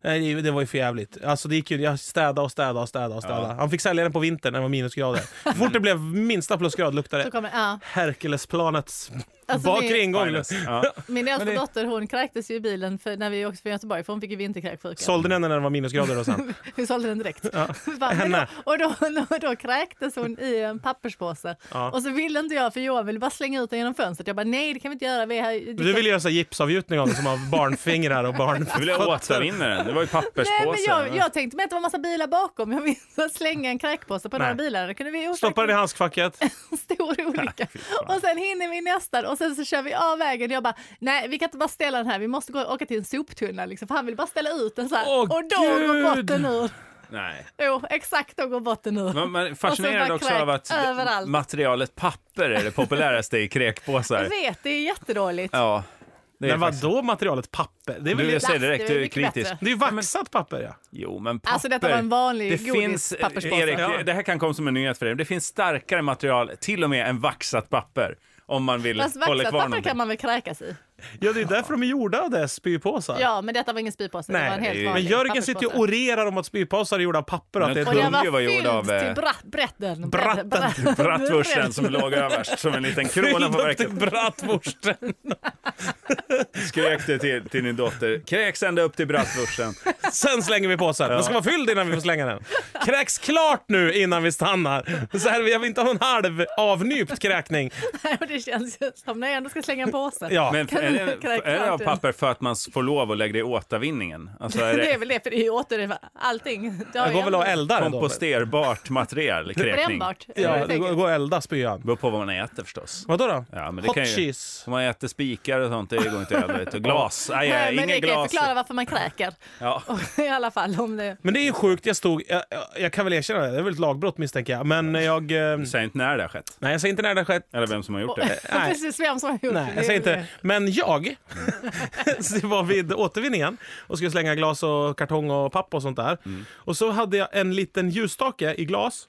Nej, det- det var ju för jävligt. Alltså, det gick ju, jag städade och städade och städade. Och städade. Han fick sälja den på vintern när det var minusgrader. Så fort det blev minsta plusgrad luktade Så det kommer, ja. Herkulesplanets Alltså, Bak vi- ringgången. [laughs] Ja. Min äldsta Men det- dotter hon kräktes ju i bilen för, när vi åkte från Göteborg för hon fick ju vinterkräksjuka. Sålde den när det var minusgrader och [laughs] sen? Vi sålde den direkt. Bara, men henne. då, och då, [laughs] då, då kräktes hon i en papperspåse. Ja. Och så ville inte jag, för Johan ville bara slänga ut den genom fönstret. Jag bara nej det kan vi inte göra. Vi är här, det Du kan- vill göra så här gipsavgjutning av det som av barnfingrar [laughs] och barn... Du ville [laughs] återvinna den. Det var ju Nej, men papperspåsen. jag, jag tänkte mig att det var massa bilar bakom. Jag minns att slänga en kräkpåse på några Nej. bilar. Då kunde vi Stoppa den i handskfacket. [laughs] en stor olycka. och sen hinner vi nästan och sen så kör vi av vägen. Jag bara, nej vi kan inte bara ställa den här. Vi måste gå och åka till en soptunna liksom. För han vill bara ställa ut den så här. Åh, och då går Gud! botten ur. Nej. Jo, exakt då går botten ur. Man, man är Och så fascinerad bara också av att crack överallt. materialet papper är det populäraste i Jag kräkpåsar. vet, det är jättedåligt. Ja, det är Men faktiskt... vadå materialet papper? Det är, väl Du, jag det säger direkt, Plast är du är mycket kritisk. bättre. det är ju vaxat papper ja. Jo, men papper. Alltså, detta var en vanlig det godis- finns, papperspåse. Erik, Ja. det- det här kan komma som en nyhet för dig. Det finns starkare material, till och med än vaxat papper, om man vill Fast hålla vaxat kvar papper någonting. kan man väl kräkas i? Ja, det är därför de är gjorda av det, spypåsar. Ja, men detta var ingen spypåse. det var en helt Nej, ju- men vanlig Jörgen sitter ju och papperspåse. orerar om att spypåsar är gjorda av papper och att det är [laughs] Men- Och dumt. den Dunge var var gjord fylld av, eh, till bra, brätten. bratten. [laughs] [laughs] Bratwursten som [laughs] låg överst som en liten krona på verket. [laughs] Bratwursten. Skrek du till, till din dotter. Kräks ända upp till [laughs] bratwursten. Sen slänger vi påsen. Den ska vara fylld innan vi får slänga den. Kräks klart nu innan vi stannar. Så här, jag vill inte ha någon halv avnypt kräkning. Nej, och det känns ju som när jag ändå ska slänga en påse. Ja. Men Kan är du det, kräka är det av klart den? papper för att man får lov att lägga det i återvinningen? Alltså är [laughs] Det är det väl det, för det är ju återvinning. Allting. Det har Det ju går väl att ändå- elda den då? men. komposterbart material, kräkning? Brännbart. är Ja, jag det tänker. går går att elda spyan. Beror på vad man äter förstås. Vadå då? Ja, men det Hot kan ju- cheese. Om man äter spikar och sånt, det går inte över. vet du. Glas, nej, Nej, nej men det ingen kan ju glas. förklara varför man kräker. [laughs] Ja. I alla fall om det... Men det är ju sjukt, jag stod... Jag, jag, jag kan väl erkänna det, det är väl ett lagbrott misstänker jag. Men jag... eh, Säg inte när det har skett, Nej, jag säger inte när det har skett. eller vem som har gjort det. Nej. [laughs] Precis vem som har gjort Nej, det. jag säger inte. Men jag [laughs] så det var vid återvinningen och skulle slänga glas och kartong och papp och sånt där. Mm. Och så hade jag en liten ljusstake i glas.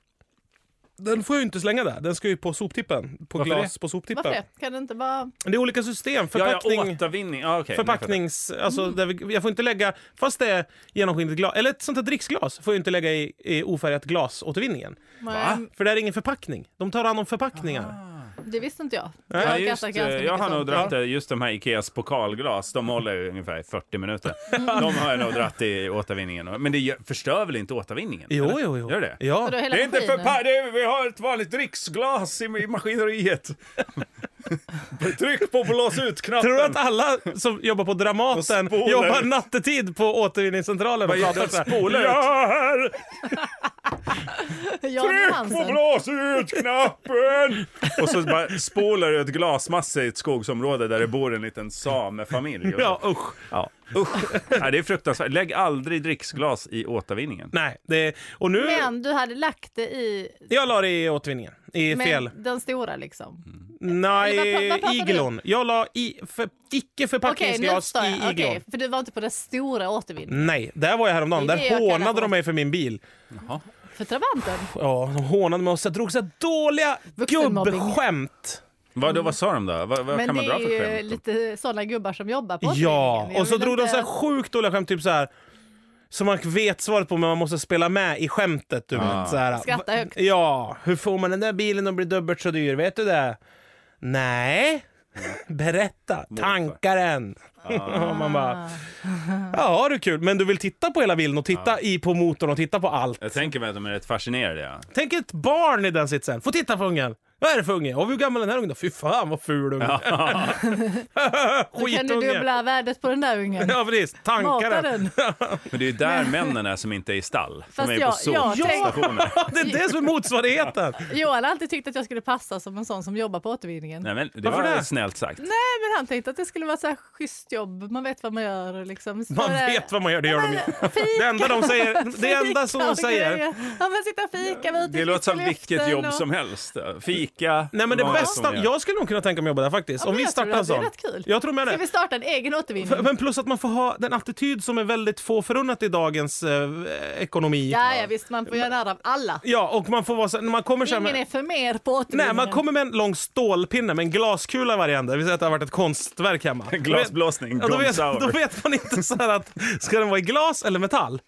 Den får jag ju inte slänga där. Den ska ju på soptippen. På Varför glas det? på soptippen. Varför det? Kan det inte bara... det? är olika system. Ja, Förpackning. ja, återvinning. Ah, okay, Förpacknings... Alltså, Mm. där vi, jag får inte lägga... Fast det är genomskinligt glas, eller ett sånt här dricksglas, får jag inte lägga i, i ofärgat glasåtervinningen. Men, För det är ingen förpackning. De tar hand om förpackningar. Ah. det visste inte jag. Ja, har just, kastat eh, ganska jag har mycket nog sånt. dratt eh, just de här Ikeas pokalglas, de håller ju ungefär i 40 minuter. De har jag nog dratt i återvinningen. Men det gör- förstör väl inte återvinningen? Jo, eller? jo, jo. Gör det? Ja. Och då hela Det är inte maskinen. förpa- det är, vi har ett vanligt dricksglas i, i maskineriet. Tryck på blås ut-knappen. Tror du att alla som jobbar på Dramaten Och spolar jobbar ut. nattetid på återvinningscentralen och Vad gör pratar de? så här? Spolar ut? Ja, här! Jan Johansson. blås ut-knappen! Och så bara spolar du ett glasmassa i ett skogsområde där det bor en liten samefamilj. Och så- Ja, usch. Ja. Usch! Nej, det är fruktansvärt. Lägg aldrig dricksglas i återvinningen. Nej, det, och nu... Men du hade lagt det i Jag la det i återvinningen. I men fel. Mm. den stora liksom. Eller vad pra- Nej, vad pratar du? iglon. Jag la i för, icke Okej, nu förpackningsglas förstår jag. i iglon. Okej, för du var inte på den stora återvinningen. Nej, där var jag häromdagen. Det är det Där jag kallar hånade för- de mig för min bil. Mm. För Trabanten. Ja, de hånade mig och så jag drog så här dåliga Vuxenmobbing. gubbskämt. Vad, då, vad sa de då? Vad, vad Men kan det man dra är för ju skämt? lite sådana gubbar som jobbar på Ja, återvinningen. Jag och så vill drog de inte- så här sjukt dåliga skämt, typ så här. Som man vet svaret på men man måste spela med i skämtet. Du vet, så här, Skratta högt. Ja, hur får man den där bilen att bli dubbelt så dyr? Vet du det? Nej. [laughs] Berätta. Ah. Tankaren. [laughs] Och man bara, Ah. ja har du kul. Men du vill titta på hela bilen och titta i på motorn och titta på allt. Jag tänker mig att de är rätt fascinerade. Ja. Tänk ett barn i den sitsen. Få titta på ungen. Vad är det för unge? Och hur gammal är den här ungen då? Fy fan vad ful unge. [laughs] Då kan du Skitunge. dubbla värdet på den där ungen. Ja precis, Mata tankaren. [laughs] den. Men det är ju där männen är som inte är i stall. Fast de är ju jag- på jag tänk- sopstationer. Det är det som är motsvarigheten. Johan har alltid tyckt att jag skulle passa som en sån som jobbar på återvinningen. Nej, Nej, men det Varför var det? snällt sagt. men han tänkte att det skulle vara så här schysst jobb. Man vet vad man gör och liksom. Så Man där- vet vad man gör, det gör de ju. Fika. Det enda de säger, det enda som Fika de och säger. grejer. Ja, men sitta och fika, vara ute i Det låter som friska vilket luften jobb och- som helst. Fika. Nej men det vad bästa, som helst. jag skulle nog kunna tänka mig att jobba där faktiskt. Ja, Om men vi jag tror startar en att det är sån. rätt kul. Jag tror med Ska det. vi starta en egen återvinning? F- Men plus att man får ha den attityd som är väldigt få förunnat i dagens eh, ekonomi. Ja, ja, visst, man får göra narr av alla. Ja, och man får vara så, när man kommer så här Ingen är med, för mer på återvinningen. Nej, man kommer med en lång stålpinne med en glaskula i varje ände. Det vill säga att det har varit ett konstverk hemma. Glasblåsning, Ja, då, vet, Gone Sour. då vet man inte så här att ska den vara i glas eller metall?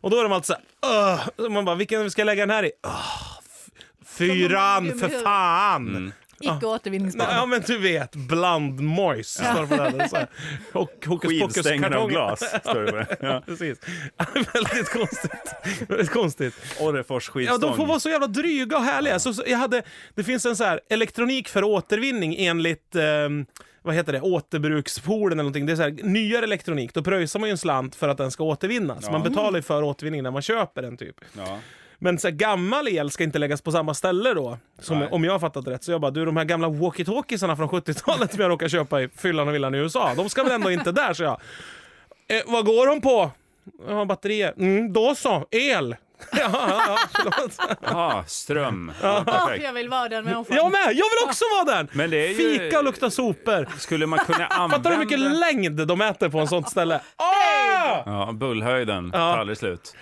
Och då är de alltid så här, "Ugh." man bara vilken ska jag lägga den här i? "Ugh, f- Som de har fyran gummi för Mm. huvud. fan! Icke återvinningsbar. Ja men du vet, blandmojs står det på den. Så här. Och hokus Skivstänger pokus-kartongen. av glas, står det på den. ja. [laughs] Precis. [laughs] Väldigt konstigt. Väldigt konstigt. Orrefors skivstång. Ja, de får vara så jävla dryga och härliga. Så, så jag hade, det finns en så här elektronik för återvinning enligt ehm, vad heter det? Återbrukspoolen eller någonting. Det är så här, nyare elektronik, då pröjsar man ju en slant för att den ska återvinnas. Man betalar ju för återvinning när man köper den typ. Ja. Men så här, gammal el ska inte läggas på samma ställe då, som, Nej. om jag har fattat rätt. Så jag bara, du de här gamla walkie-talkiesarna från 70-talet som jag råkar köpa i fyllan och villan i USA, de ska väl ändå inte där, så jag. Eh, vad går de på? Ja, batterier. Mm, då så, el. ja, ja, ja, förlåt. Ah, ström. Åh, Perfekt. jag vill vara den människan. Jag med! Jag vill också vara den! Men det är ju- Fika och lukta sopor. Skulle man kunna [laughs] använda... Fattar du hur mycket längd de äter på en sånt ställe? Ah! Åh! Ja, bullhöjden tar aldrig slut.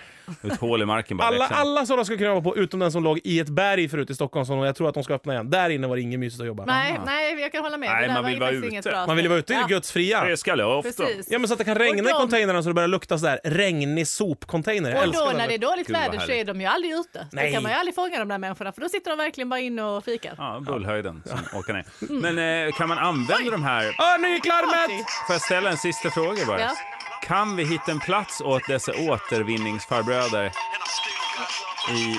Ett hål i marken bara. Alla, växer. alla sådana ska kunna vara på, utom den som låg i ett berg förut i Stockholm, som jag tror att de ska öppna igen. Där inne var det inget mysigt att jobba. Nej, nej, jag kan hålla med. Nej, det där man var vill ju vara faktiskt ute. inget bra Man vill ju vara ute i ja, gudsfria. Det ska jag ofta. Precis. Ja men så att det kan regna Och i de- containrarna så det börjar lukta så där regnig sopcontainer. Jag Och älskar då den när det är lukten. dåligt Gud, vad väder så är härligt. de ju aldrig ute. Nej. Då kan man ju aldrig fånga de där människorna för då sitter de verkligen bara inne och fikar. Ja, bullhöjden [laughs] som åker ner. Men eh, kan man använda de här... Åh, Ah, nu gick larmet! Får jag ställa en sista fråga bara? Ja. Kan vi hitta en plats åt dessa återvinningsfarbröder i...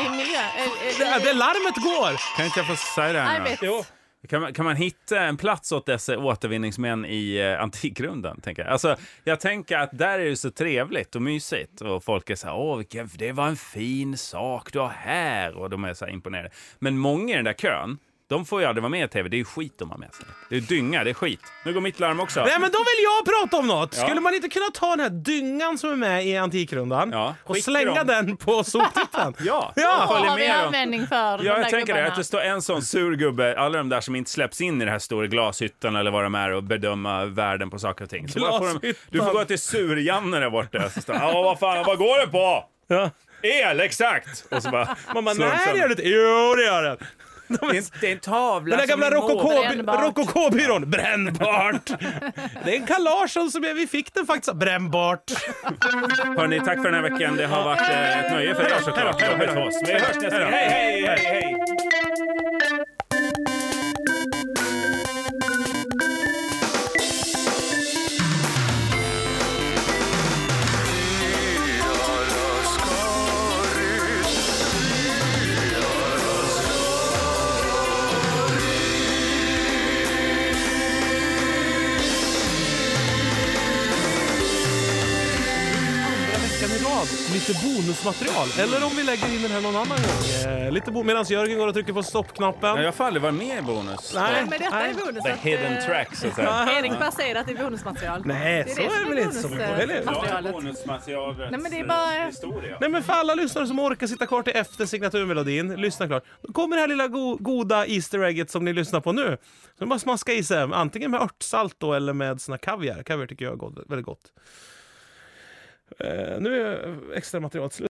I miljö... Äh, Det, det larmet går! Kan inte jag få säga det här nu då? Arbetet. Jo. Kan man, kan man hitta en plats åt dessa återvinningsmän i eh, Antikrundan? Tänker jag. Alltså, jag tänker att där är det så trevligt och mysigt. Och folk är så här, åh, vilken, det var en fin sak du har här. Och de är så här imponerade. Men många i den där kön, de får ju aldrig vara med i tv. Det är ju skit de har med sig. Det är dynga, det är skit. Nu går mitt larm också. Nej men då vill jag prata om något! Skulle man inte kunna ta den här dyngan som är med i Antikrundan Ja, och skicka slänga dem. den på soptippen? [laughs] Ja, Ja. Vad följer har vi med dem. användning för de Ja, där jag tänker det. gubbarna? Att det står en sån sur gubbe, alla de där som inte släpps in i det här stora glashyttan eller vad de är och bedöma världen på saker och ting. Så bara får de, Glashyttan. du får gå till sur-Janne där borta. Så står han, ja vad fan, vad går det på? Ja. El, exakt! Och så bara... Man bara, slår de nej det sönder. gör det inte. Jo det gör den! Det är en- Det är en tavla Den där som gamla är målad. rokoko- Brännbart. rokoko-byrån. Brännbart! Det är en Carl Larsson som är, vi fick den faktiskt. Brännbart! Hörni, tack för den här veckan. Det har varit eh, ett nöje för er såklart. Det har varit för oss. Vi hörs nästa gång. Hej, hej, hej, hej! Andra veckan i rad, lite bonusmaterial. Eller om vi lägger in den här någon annan gång. Eh, lite bo- Medan Jörgen går och trycker på stoppknappen. Jag får aldrig vara med i Bonus. Nej, men detta är bonus. The att, hidden eh, track, så att säga. Erik bara säger att det är bonusmaterial. Nej, det så är det väl inte så mycket, eller? bonusmaterialet. Bonusmaterialets Nej, men det är bara- eh, historia. Nej men för alla lyssnare som orkar sitta kvar till efter signaturmelodin, lyssna klart. Då kommer det här lilla go- goda Easter egget som ni lyssnar på nu. Så det är bara att smaska i sig, antingen med örtsalt då eller med såna kaviar. Kaviar tycker jag är gott, väldigt gott. Eh, nu är extra materialet slut.